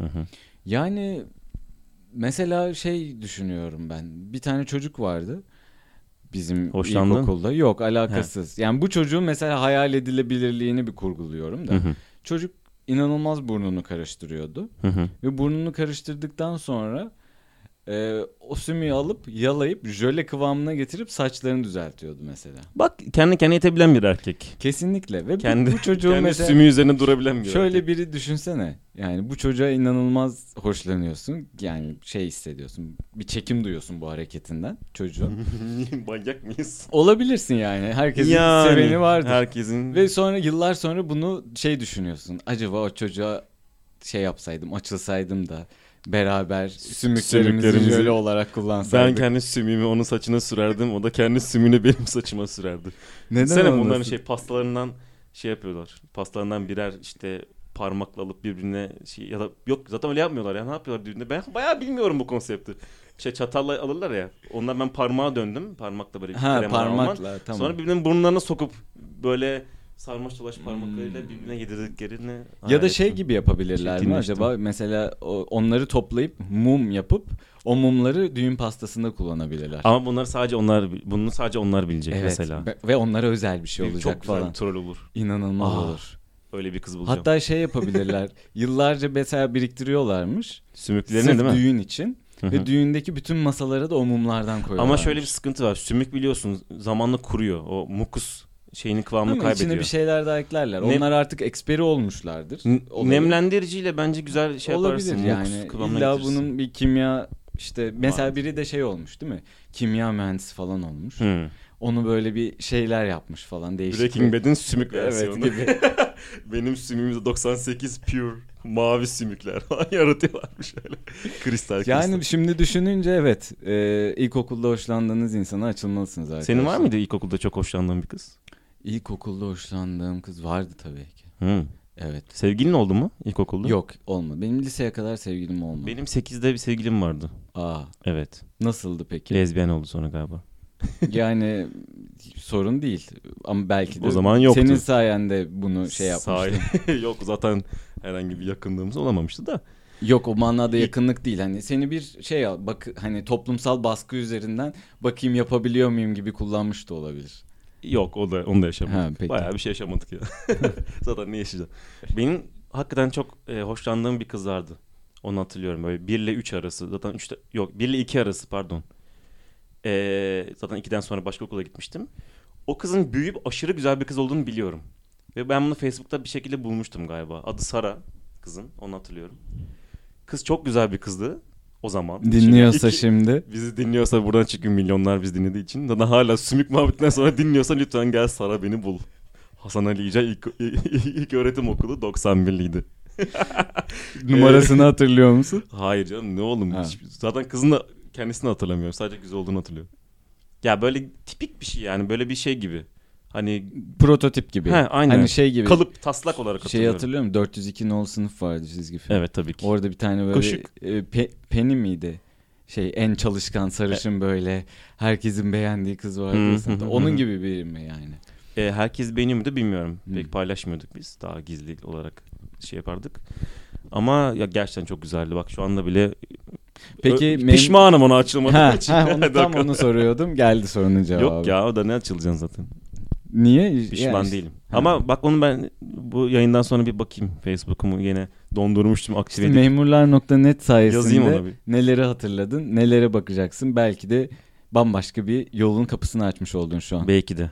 Yani mesela şey düşünüyorum ben. Bir tane çocuk vardı bizim
Hoşlandın?
ilkokulda. Yok alakasız. Yani bu çocuğun mesela hayal edilebilirliğini bir kurguluyorum da.
Hı hı.
Çocuk inanılmaz burnunu karıştırıyordu.
Hı hı.
Ve burnunu karıştırdıktan sonra e, o sümüğü alıp yalayıp jöle kıvamına getirip saçlarını düzeltiyordu mesela.
Bak kendi kendine yetebilen bir erkek.
Kesinlikle ve bu-
Kendi,
bu çocuğun
kendi
mesela...
sümüğü üzerine durabilen bir erkek.
Şöyle biri düşünsene. Yani bu çocuğa inanılmaz hoşlanıyorsun. Yani şey hissediyorsun. Bir çekim duyuyorsun bu hareketinden çocuğun.
*laughs* Manyak mıyız?
Olabilirsin yani. Herkesin seveni vardır.
Herkesin.
Ve sonra yıllar sonra bunu şey düşünüyorsun. Acaba o çocuğa şey yapsaydım, açılsaydım da beraber sümüklerimizi
Sümüklerimizi-
şöyle olarak
ben
kullansaydık.
kendi sümüğümü onun saçına sürerdim. O da kendi sümüğünü benim saçıma sürerdi.
Neden
Sene
olmasın?
bunların şey pastalarından şey yapıyorlar. Pastalarından birer işte parmakla alıp birbirine şey ya da yok zaten öyle yapmıyorlar ya ne yapıyorlar birbirine ben bayağı bilmiyorum bu konsepti. Şey çatalla alırlar ya. Ondan ben parmağa döndüm. Parmakla böyle bir
Ha
kremalar olman.
parmakla tamam.
Sonra birbirinin burnlarına sokup böyle sarmaş dolaş parmaklarıyla birbirine yedirdiklerini
Hmm. Ya da
hayal
şey
ettim.
gibi yapabilirler mi
Çirkinleştim.
acaba? Mesela o- onları toplayıp mum yapıp o mumları düğün pastasında kullanabilirler.
Ama bunları sadece onlar bunu sadece onlar bilecek
evet.
mesela.
Be- Ve onlara özel bir şey
Bir-
olacak
Çok güzel Ah,
falan.
bir troll olur.
İnanılmaz
Aa.
olur.
Öyle bir kız bulacağım. Hatta
Hatta
*laughs*
şey yapabilirler. yıllarca mesela biriktiriyorlarmış.
sümüklerini
Sırf
değil mi?
düğün için.
Hı hı.
Ve düğündeki bütün masalara da o mumlardan koyuyorlar.
Ama şöyle bir sıkıntı var. Sümük biliyorsun zamanla kuruyor. O mukus şeyini kıvamını
Ama
kaybediyor.
içine bir şeyler daha eklerler.
Nem-
Onlar artık eksperi olmuşlardır.
N-
Olayı-
Nemlendiriciyle bence güzel şey
Olabilir
yaparsın.
yani.
Mukus kıvamına
İlla
getirirsin.
bunun bir kimya işte mesela
Var.
biri de şey olmuş değil mi? Kimya mühendisi falan olmuş.
Hı.
Onu böyle bir şeyler yapmış falan değişik.
Hmm. Breaking
bir-
Bad'in sümük
*laughs* Evet
versiyonu. *laughs*
gibi.
Benim sümüğümde 98 pure mavi sümükler *laughs* falan yaratıyorlarmış öyle. kristal kristal.
yani şimdi düşününce evet e, ilkokulda hoşlandığınız insana açılmalısınız arkadaşlar.
Senin var mıydı ilkokulda çok hoşlandığın bir kız?
İlkokulda hoşlandığım kız vardı tabii ki.
Hı.
Evet.
Sevgilin oldu mu ilkokulda?
Yok olmadı. Benim liseye kadar sevgilim olmadı.
Benim 8'de bir sevgilim vardı.
Aa
Evet.
nasıldı peki?
Lezbiyen oldu sonra galiba.
yani sorun değil ama belki de
O zaman yoktu.
senin sayende bunu şey yapmıştım.
Sahi- *laughs* Yok zaten herhangi bir yakınlığımız olamamıştı da.
Yok o manada yakınlık değil. Hani seni bir şey al, bak hani toplumsal baskı üzerinden bakayım yapabiliyor muyum gibi kullanmış da olabilir.
Yok o da onu da yaşamadık.
Ha, peki.
Bayağı bir şey yaşamadık ya. *laughs* zaten ne yaşayacağım. Benim hakikaten çok e, hoşlandığım bir kız vardı. Onu hatırlıyorum böyle 1 ile 3 arası. Zaten 3 yok 1 ile 2 arası pardon. E, zaten 2'den sonra başka okula gitmiştim. O kızın büyüyüp aşırı güzel bir kız olduğunu biliyorum. Ve ben bunu Facebook'ta bir şekilde bulmuştum galiba. Adı Sara kızın. Onu hatırlıyorum. Kız çok güzel bir kızdı o zaman. Şimdi
Dinliyorsa
iki- *laughs*
şimdi.
Bizi dinliyorsa buradan çünkü milyonlar biz dinlediği için. Daha hala sümük muhabbetinden sonra dinliyorsa lütfen gel Sara beni bul. Hasan Ali İlce ilk, ilk öğretim okulu 91'liydi.
Numarasını hatırlıyor musun?
Hayır canım ne oğlum.
Ha.
hiç- zaten kızın da kendisini hatırlamıyorum. Sadece güzel olduğunu hatırlıyorum. Ya böyle tipik bir şey yani böyle bir şey gibi. Hani
Prototip gibi.
He, aynen.
Hani şey gibi.
kalıp taslak olarak
Şeyi
hatırlıyorum.
hatırlıyor musun? 402 nol sınıf vardı çizgi film.
evet tabii ki.
Orada bir tane böyle
Koşuk.
e, pe- Penny miydi? Şey en çalışkan sarışın böyle herkesin beğendiği kız vardı.
Hı hı
sınıfta.
hı
Onun
hı.
gibi biri mi yani?
E, herkes beğeniyor muydu bilmiyorum.
Hmm.
Pek paylaşmıyorduk biz. Daha gizli olarak şey yapardık. Ama ya gerçekten çok güzeldi. Bak şu anda bile
Peki
Ö-
mem-
pişmanım onu açılmadığım
Ha,
için. *laughs*
ha, onu, tam
Dakika.
onu soruyordum. Geldi sorunun cevabı.
Yok ya o da ne açılacaksın zaten.
Niye?
Pişman
Yani işte-
değilim.
Ha.
Ama bak onu ben bu yayından sonra bir bakayım. Facebook'umu yine dondurmuştum aktive edip.
Memurlar.net
Yazayım
sayesinde
ona bir.
neleri hatırladın, nelere bakacaksın. Belki de bambaşka bir yolun kapısını açmış oldun şu an.
Belki de.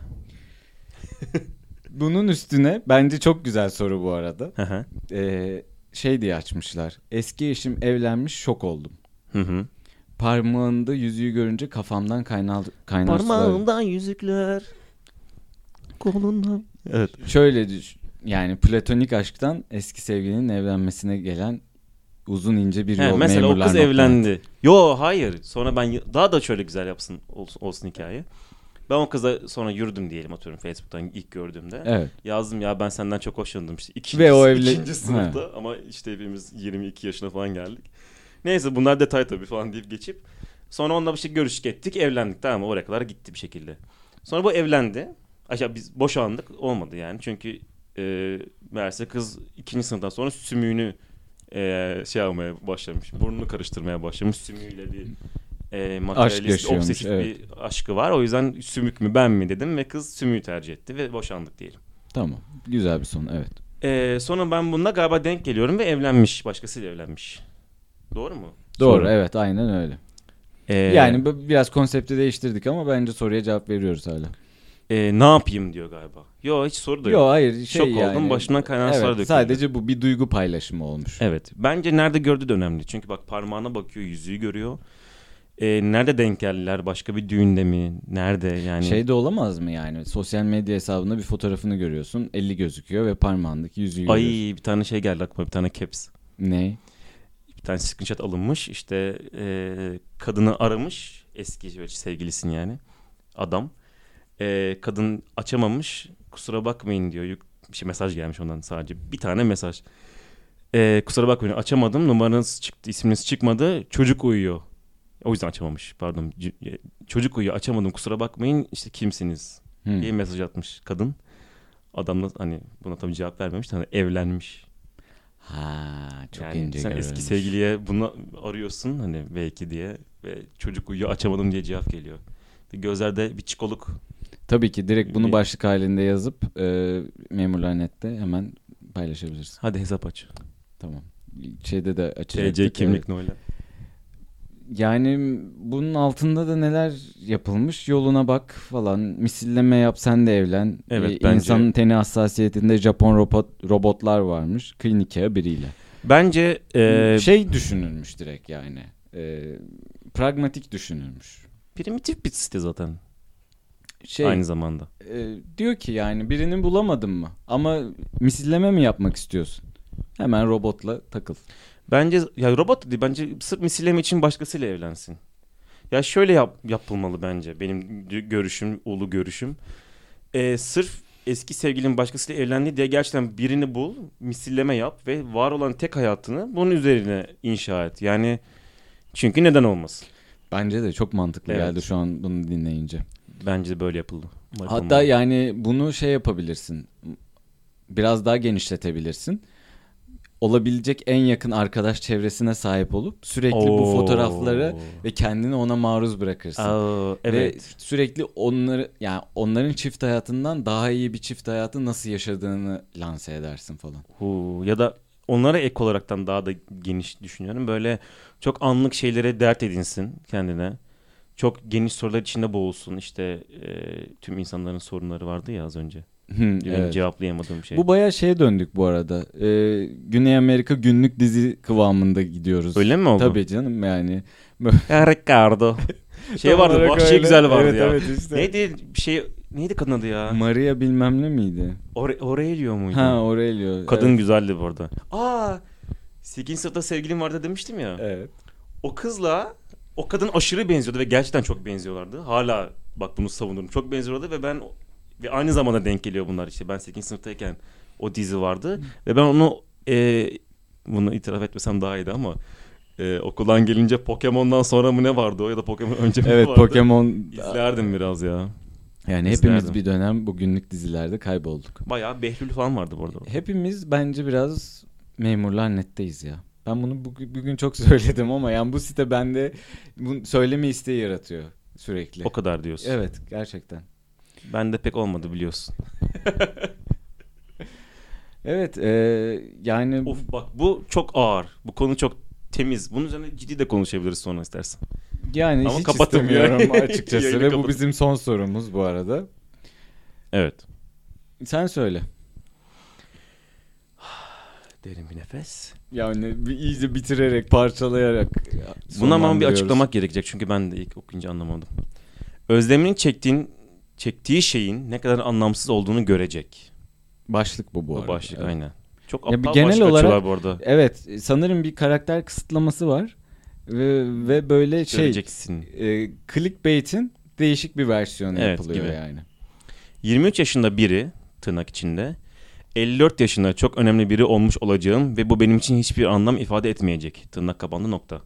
Bunun üstüne bence çok güzel soru bu arada.
Hı hı.
Ee, şey diye açmışlar. Eski eşim evlenmiş şok oldum.
Hı hı.
Parmağında yüzüğü görünce kafamdan kaynar, kaynar sular-
Parmağından yüzükler. Kolundan. Evet.
Şöyle düş. Yani platonik aşktan eski sevgilinin evlenmesine gelen uzun ince bir
He,
yol.
mesela o kız
Memurlar.net.
evlendi. Yo hayır. Sonra ben y- daha da şöyle güzel yapsın olsun, olsun hikaye. Ben o kıza sonra yürüdüm diyelim atıyorum Facebook'tan ilk gördüğümde.
Evet.
Yazdım ya ben senden çok hoşlandım işte. İkinci,
Ve o evli-
ikinci sınıfta ama işte hepimiz 22 yaşına falan geldik. Neyse bunlar detay tabii falan deyip geçip. Sonra onunla bir şey görüştük ettik evlendik tamam mı? oraya kadar gitti bir şekilde. Sonra bu evlendi. Aşağı biz boşandık olmadı yani çünkü e, meğerse kız ikinci sınıftan sonra sümüğünü e, şey almaya başlamış. Burnunu karıştırmaya başlamış. Sümüğüyle bir e, materyalist,
yaşıyormuş,
obsesif
evet.
bir aşkı var. O yüzden sümük mü ben mi dedim ve kız sümüğü tercih etti ve boşandık diyelim.
Tamam. Güzel bir son. Evet.
Ee, sonra ben bununla galiba denk geliyorum ve evlenmiş. Başkasıyla evlenmiş. Doğru mu?
Doğru
Soru.
evet aynen öyle.
Ee,
Yani bu- biraz konsepti değiştirdik ama bence soruya cevap veriyoruz hala.
e, ne yapayım diyor galiba. Yo hiç soru da yok.
Yok hayır şey
Şok
yani.
oldum başımdan kaynar sular döküldü.
evet, Sadece bu bir duygu paylaşımı olmuş.
Evet. Bence nerede gördüğü de önemli. Çünkü bak parmağına bakıyor, yüzüğü görüyor. Ee, nerede denk geldiler? Başka bir düğünde mi? Nerede yani?
Şey de olamaz mı yani? Sosyal medya hesabında bir fotoğrafını görüyorsun. 50 gözüküyor ve parmağındaki yüzüğü
Ay
görüyorsun.
bir tane şey geldi aklıma bir tane caps.
Ne?
Bir tane screenshot alınmış işte e, kadını aramış eski böyle sevgilisin yani adam. E, kadın açamamış kusura bakmayın diyor. Yük- Bir şey mesaj gelmiş ondan sadece bir tane mesaj. E, kusura bakmayın açamadım numaranız çıktı isminiz çıkmadı çocuk uyuyor. O yüzden açamamış pardon C- e, çocuk uyuyor açamadım kusura bakmayın işte kimsiniz
Hmm.
diye mesaj atmış kadın. Adamla hani buna tabii cevap vermemiş. Hani evlenmiş.
Ha çok
yani
ince
sen eski
görülmüş.
sevgiliye bunu arıyorsun hani belki diye ve çocuk uyuyor açamadım diye cevap geliyor. Bir gözlerde bir çikoluk
Tabii ki direkt bunu
Bir-
başlık halinde yazıp e, memurlar nette hemen paylaşabilirsin.
hadi hesap aç.
Tamam. Şeyde de açacaktık.
TC
evet.
kimlik noyla.
Yani bunun altında da neler yapılmış? Yoluna bak falan. Misilleme yap sen de evlen.
Evet,
Ee,
bence-
İnsanın teni hassasiyetinde Japon robot, robotlar varmış. Klinik yağı biriyle.
Bence e,
şey düşünülmüş direkt yani. Ee, pragmatik düşünülmüş.
primitif bir site zaten
Şey
aynı zamanda.
e, diyor ki yani birini bulamadın mı? Ama misilleme mi yapmak istiyorsun? Hemen robotla takıl.
Bence ya robot da değil bence sırf misilleme için başkasıyla evlensin. Ya şöyle yap, yapılmalı bence benim dü- görüşüm, ulu görüşüm. Ee, sırf eski sevgilin başkasıyla evlendi diye gerçekten birini bul, misilleme yap ve var olan tek hayatını bunun üzerine inşa et. Yani çünkü neden olmasın?
Bence de çok mantıklı
Evet.
geldi şu an bunu dinleyince.
Bence de böyle yapıldı.
Hatta yani bunu şey yapabilirsin. Biraz daha genişletebilirsin. Olabilecek en yakın arkadaş çevresine sahip olup sürekli bu fotoğrafları ve kendini ona maruz bırakırsın.
Aa,
Ve
evet.
sürekli onları yani onların çift hayatından daha iyi bir çift hayatı nasıl yaşadığını lanse edersin falan.
Hu, ya da onlara ek olaraktan daha da geniş düşünüyorum. Böyle çok anlık şeylere dert edinsin kendine. Çok geniş sorular içinde boğulsun. İşte e, tüm insanların sorunları vardı ya az önce.
Hı,
Benim
evet.
cevaplayamadığım şey.
Bu bayağı şeye döndük bu arada. Ee, Güney Amerika günlük dizi kıvamında gidiyoruz.
Öyle mi oldu?
Tabii canım yani.
Ya Ricardo. şey
Tam
vardı.
olarak
Vahşi
öyle.
güzel vardı
Evet,
ya.
*laughs* evet, işte.
Neydi şey neydi kadın adı ya?
Maria bilmem ne miydi?
Ore- Aurelio muydu?
Ha Aurelio.
Kadın
Evet.
güzeldi bu arada. Aa 8. sınıfta sevgilim vardı demiştim ya.
Evet.
O kızla o kadın aşırı benziyordu ve gerçekten çok benziyorlardı. Hala bak bunu savunurum. Çok benziyorlardı ve ben ve aynı zamanda denk geliyor bunlar işte. Ben 8. sınıftayken o dizi vardı ve ben onu e, bunu itiraf etmesem daha iyiydi ama e, okuldan gelince Pokemon'dan sonra mı ne vardı o ya da Pokemon *laughs* önce mi
Evet
vardı?
Pokemon.
İzlerdim biraz ya.
Yani
İzlerdim.
hepimiz bir dönem bu günlük dizilerde kaybolduk.
Bayağı Behlül falan vardı bu arada.
Hepimiz bence biraz memurlar netteyiz ya. Ben bunu bugün, bugün çok *laughs* söyledim ama yani bu site bende bu söyleme isteği yaratıyor sürekli.
O kadar diyorsun.
Evet gerçekten.
Ben de pek olmadı biliyorsun.
Evet e, yani
Of bak bu çok ağır. Bu konu çok temiz. Bunun üzerine ciddi de konuşabiliriz sonra istersen.
yani
Ama
hiç
kapatın ya.
istemiyorum
*laughs*
açıkçası
Yayını
ve bu
kapatın.
bizim son sorumuz bu arada.
Evet.
Sen söyle.
Derin bir nefes.
Yani bir- iyice bitirerek parçalayarak.
Bunu ama bir
sonlandırıyoruz.
açıklamak gerekecek çünkü ben de ilk okuyunca anlamadım. Özleminin çektiğin çektiği şeyin ne kadar anlamsız olduğunu görecek.
Başlık bu bu,
Bu
arada.
başlık
Evet.
aynen. Çok
Ya bir
aptal
genel
başlık
olarak-
açıyorlar bu arada.
Evet sanırım bir karakter kısıtlaması var ve, ve böyle şey
Göreceksin.
e, clickbait'in değişik bir versiyonu
Evet,
yapılıyor
gibi.
yani.
23 yaşında biri tırnak içinde 54 yaşında çok önemli biri olmuş olacağım ve bu benim için hiçbir anlam ifade etmeyecek. Tırnak kapandı nokta.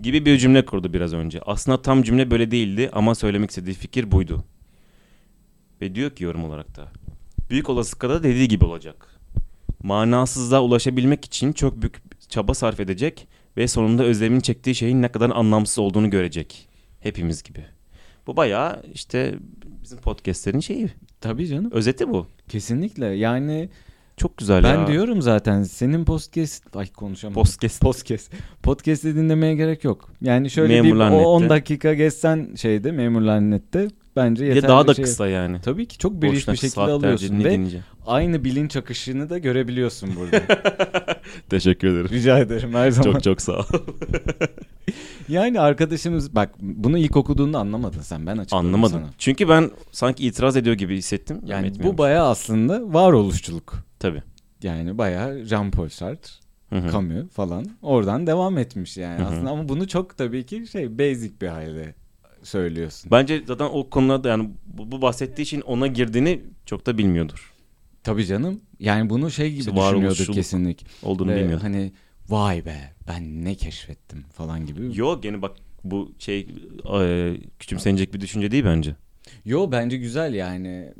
Gibi bir cümle kurdu biraz önce. Aslında tam cümle böyle değildi ama söylemek istediği fikir buydu. Ve diyor ki yorum olarak da. Büyük olasılıkla da dediği gibi olacak. Manasızlığa ulaşabilmek için çok büyük çaba sarf edecek ve sonunda özlemin çektiği şeyin ne kadar anlamsız olduğunu görecek. Hepimiz gibi. Bu bayağı işte bizim podcastlerin şeyi.
Tabii canım.
Özeti bu.
Kesinlikle. Yani
Çok güzel
ben
ya.
diyorum zaten senin podcast ay konuşamadım.
Podcast.
podcast. Podcast'i dinlemeye gerek yok. Yani şöyle
Memurlar
bir o
Net'te.
10 dakika geçsen şeyde Memurlar Net'te bence
Ya
yeterli
daha da
şey.
kısa yani.
Tabii ki çok bir
Boşuna
bir şekilde
saatlerce
alıyorsun ve
dinleyince.
aynı bilinç akışını da görebiliyorsun
*laughs*
burada.
Teşekkür
*laughs*
ederim.
Rica ederim her zaman.
çok çok sağ ol.
Yani arkadaşımız bak bunu ilk okuduğunda anlamadın sen ben açıkladım
Anlamadım.
sana.
Çünkü ben sanki itiraz ediyor gibi hissettim. Ama
Yani bu
etmiyormuş.
bayağı aslında varoluşçuluk.
Tabii.
Yani bayağı Jean-Paul Sartre,
Hı hı.
Camus falan oradan devam etmiş yani
Hı hı.
aslında ama bunu çok tabii ki şey basic bir halde söylüyorsun.
Bence zaten o konularda yani bu, bu bahsettiği için ona girdiğini çok da bilmiyordur.
Tabii canım. Yani bunu şey gibi
İşte
düşünüyorduk
varoluşçuluk
kesinlik.
Olduğunu
Ve
bilmiyordur.
hani vay be ben ne keşfettim falan gibi. Yo,
Yok yani bak bu şey e, küçümsenecek bir düşünce değil bence.
bence güzel yani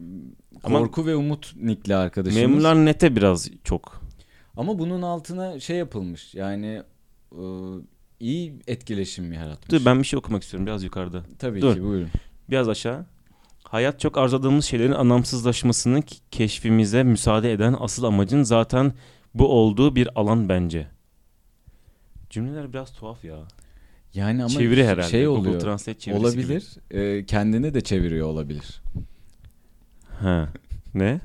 Ama-
Korku ve Umut nickli arkadaşımız.
Memurlar nete biraz çok.
Ama bunun altına şey yapılmış yani e, iyi etkileşim yaratmış.
Dur ben bir şey okumak istiyorum biraz yukarıda.
Tabii
dur.
ki buyurun.
Biraz aşağı. Hayat çok arzuladığımız şeylerin anlamsızlaşmasını k- keşfimize müsaade eden asıl amacın zaten bu olduğu bir alan bence. Cümleler biraz tuhaf ya.
Yani ama
Çeviri herhalde.
şey
Google
oluyor.
Translate çevirisi
Olabilir. E, kendini de çeviriyor olabilir. *laughs*
gibi. He. Ne?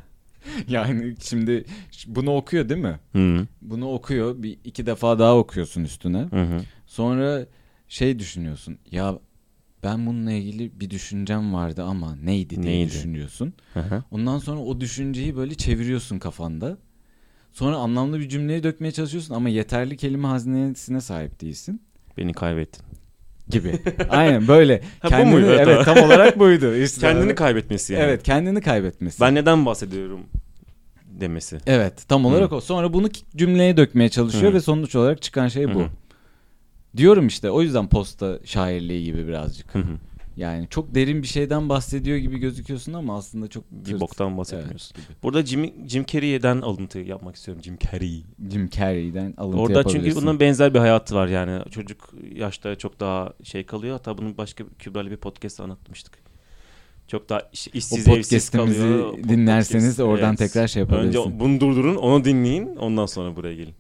Yani şimdi ş- bunu okuyor değil mi?
Hı.
Bunu okuyor. Bir iki defa daha okuyorsun üstüne.
Hı hı.
Sonra şey düşünüyorsun. Ya ben bununla ilgili bir düşüncem vardı ama neydi diye
Neydi?
düşünüyorsun.
Hı hı.
Ondan sonra o düşünceyi böyle çeviriyorsun kafanda. Sonra anlamlı bir cümleyi dökmeye çalışıyorsun ama yeterli kelime hazinesine sahip değilsin
Beni kaybettin. *laughs*
gibi. Aynen böyle.
Ha, bu muydu? Evet,
evet tam
*laughs*
olarak buydu. İşte
Kendini kaybetmesi yani.
Evet kendini kaybetmesi.
Ben neden bahsediyorum demesi.
Evet tam olarak o. Sonra bunu ki- cümleye dökmeye çalışıyor
Hı.
ve sonuç olarak çıkan şey bu.
Hı hı.
Diyorum işte o yüzden posta şairliği gibi birazcık.
Hı hı.
Yani çok derin bir şeyden bahsediyor gibi gözüküyorsun ama aslında çok
bir
tırt-
boktan
Evet,
bahsetmiyorsun.
gibi.
Burada Jim, Jim Carrey'den alıntı yapmak istiyorum. Jim Carrey.
Jim Carrey'den alıntı
Orada çünkü
yapabilirsin.
bunun benzer bir hayatı var yani. Çocuk yaşta çok daha şey kalıyor. Hatta bunu başka bir- Kübra'yla bir podcast'ta anlatmıştık. Çok daha iş-
o
işsiz, evsiz
podcast'imizi
kalıyor. O
dinlerseniz
podcast-
oradan
Evet.
tekrar şey
Önce
yapabilirsin. *laughs*
bunu durdurun, onu dinleyin. Ondan sonra buraya gelin.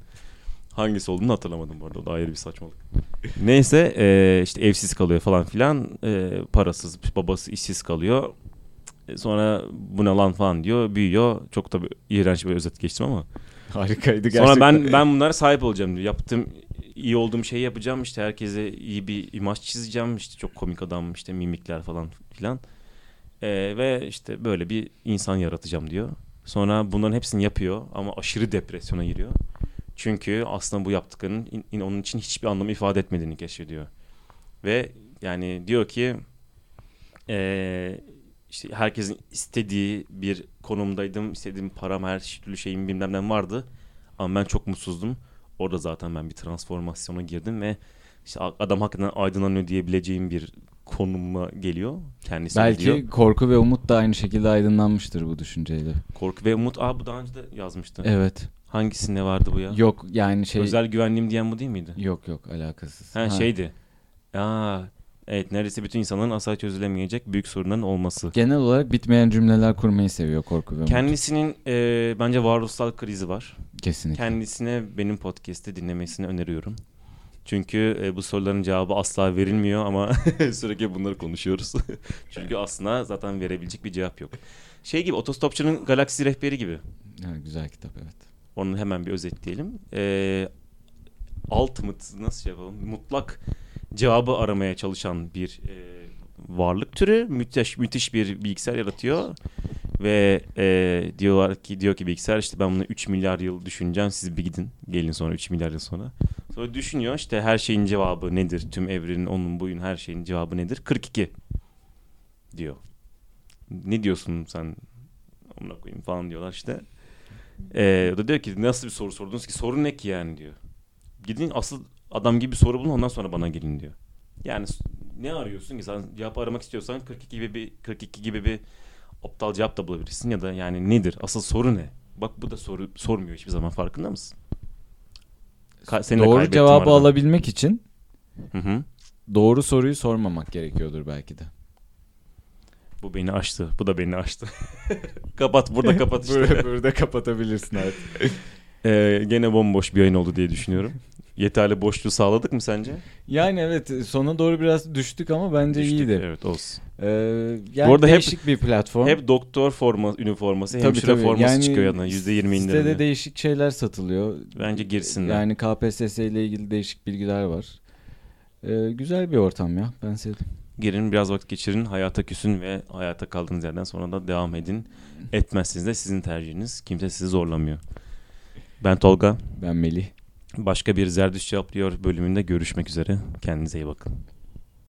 Hangisi olduğunu hatırlamadım bu arada. O da ayrı bir saçmalık.
*laughs*
Neyse e, işte evsiz kalıyor falan filan. E, parasız, babası işsiz kalıyor. E, Sonra bu ne lan falan diyor. Büyüyor. Çok da bir- iğrenç bir özet geçtim ama.
Harikaydı gerçekten.
Sonra ben ben bunlara sahip olacağım diyor. Yaptığım iyi olduğum şeyi yapacağım işte herkese iyi bir imaj çizeceğim işte çok komik adam işte mimikler falan filan. Ee, ve işte böyle bir insan yaratacağım diyor. Sonra bunların hepsini yapıyor ama aşırı depresyona giriyor. Çünkü aslında bu yaptıklarının in- in- onun için hiçbir anlamı ifade etmediğini keşfediyor. Ve yani diyor ki ee, işte herkesin istediği bir konumdaydım. istediğim param her türlü şeyim bilmem ne vardı. Ama ben çok mutsuzdum. Orada zaten ben bir transformasyona girdim ve işte a- adam hakikaten aydınlanıyor diyebileceğim bir konuma geliyor. Kendisi
Belki
diyor.
korku ve umut da aynı şekilde aydınlanmıştır bu düşünceyle.
Korku ve Umut. Aa bu daha önce de yazmıştı.
Evet.
Hangisinde vardı bu ya?
Yok yani şey
Özel güvenliğim diyen bu değil miydi?
yok yok alakasız.
Ha, şey- şeydi. Aa evet neredeyse bütün insanların asla çözülemeyecek büyük sorunların olması.
Genel olarak bitmeyen cümleler kurmayı seviyor korku ve umut.
Kendisinin e, bence varoluşsal krizi var.
Kesinlikle.
Kendisine benim podcast'i dinlemesini öneriyorum. Çünkü e, bu soruların cevabı asla verilmiyor ama *laughs* sürekli bunları konuşuyoruz. *laughs* Çünkü aslında zaten verebilecek bir cevap yok. Şey gibi otostopçunun galaksi rehberi gibi.
Ha, güzel kitap evet.
Onu hemen bir özetleyelim. Ee, ultimate nasıl şey yapalım? Mutlak cevabı aramaya çalışan bir e, varlık türü. Müthiş müthiş bir bilgisayar yaratıyor. Ve e, diyorlar ki diyor ki bilgisayar işte ben bunu 3 milyar yıl düşüneceğim. Siz bir gidin. Gelin sonra 3 milyar yıl sonra. Sonra düşünüyor işte her şeyin cevabı nedir? Tüm evrenin onun buyun her şeyin cevabı nedir? 42 diyor. Ne diyorsun sen? Amına koyayım falan diyorlar işte. Ee, o da diyor ki nasıl bir soru sordunuz ki? Soru ne ki yani diyor. Gidin asıl adam gibi bir soru bulun ondan sonra bana gelin diyor. Yani s- ne arıyorsun ki sen cevap aramak istiyorsan 42 gibi bir 42 gibi bir aptal cevap da bulabilirsin ya da yani nedir? Asıl soru ne? Bak bu da soru sormuyor hiçbir zaman farkında mısın? Ka- seni de
Doğru
kaybettim
cevabı
arada.
alabilmek için
Hı hı.
doğru soruyu sormamak gerekiyordur belki de.
Bu beni aştı. Bu da beni aştı. *laughs* kapat
*laughs*
burada kapat işte.
burada kapatabilirsin artık.
Ee, gene bomboş bir yayın oldu diye düşünüyorum. Yeterli boşluğu sağladık mı sence?
Yani evet sona doğru biraz düştük ama bence
Düştük.
iyiydi.
Evet olsun.
Ee, yani
Bu arada hep-
değişik bir platform.
Hep doktor forma, üniforması,
Tabii,
hemşire
tabii.
forması
Yani
çıkıyor yanına. %20
Sitede
indirimli.
değişik şeyler satılıyor.
Bence girsinler.
Yani KPSS ile ilgili değişik bilgiler var. Ee, güzel bir ortam ya. Ben sevdim.
Girin biraz vakit geçirin, hayata küsün ve hayata kaldığınız yerden sonra da devam edin. Etmezsiniz de sizin tercihiniz. Kimse sizi zorlamıyor. Ben Tolga.
Ben Melih.
Başka bir Zerdüş Cevaplıyor bölümünde görüşmek üzere. Kendinize iyi bakın.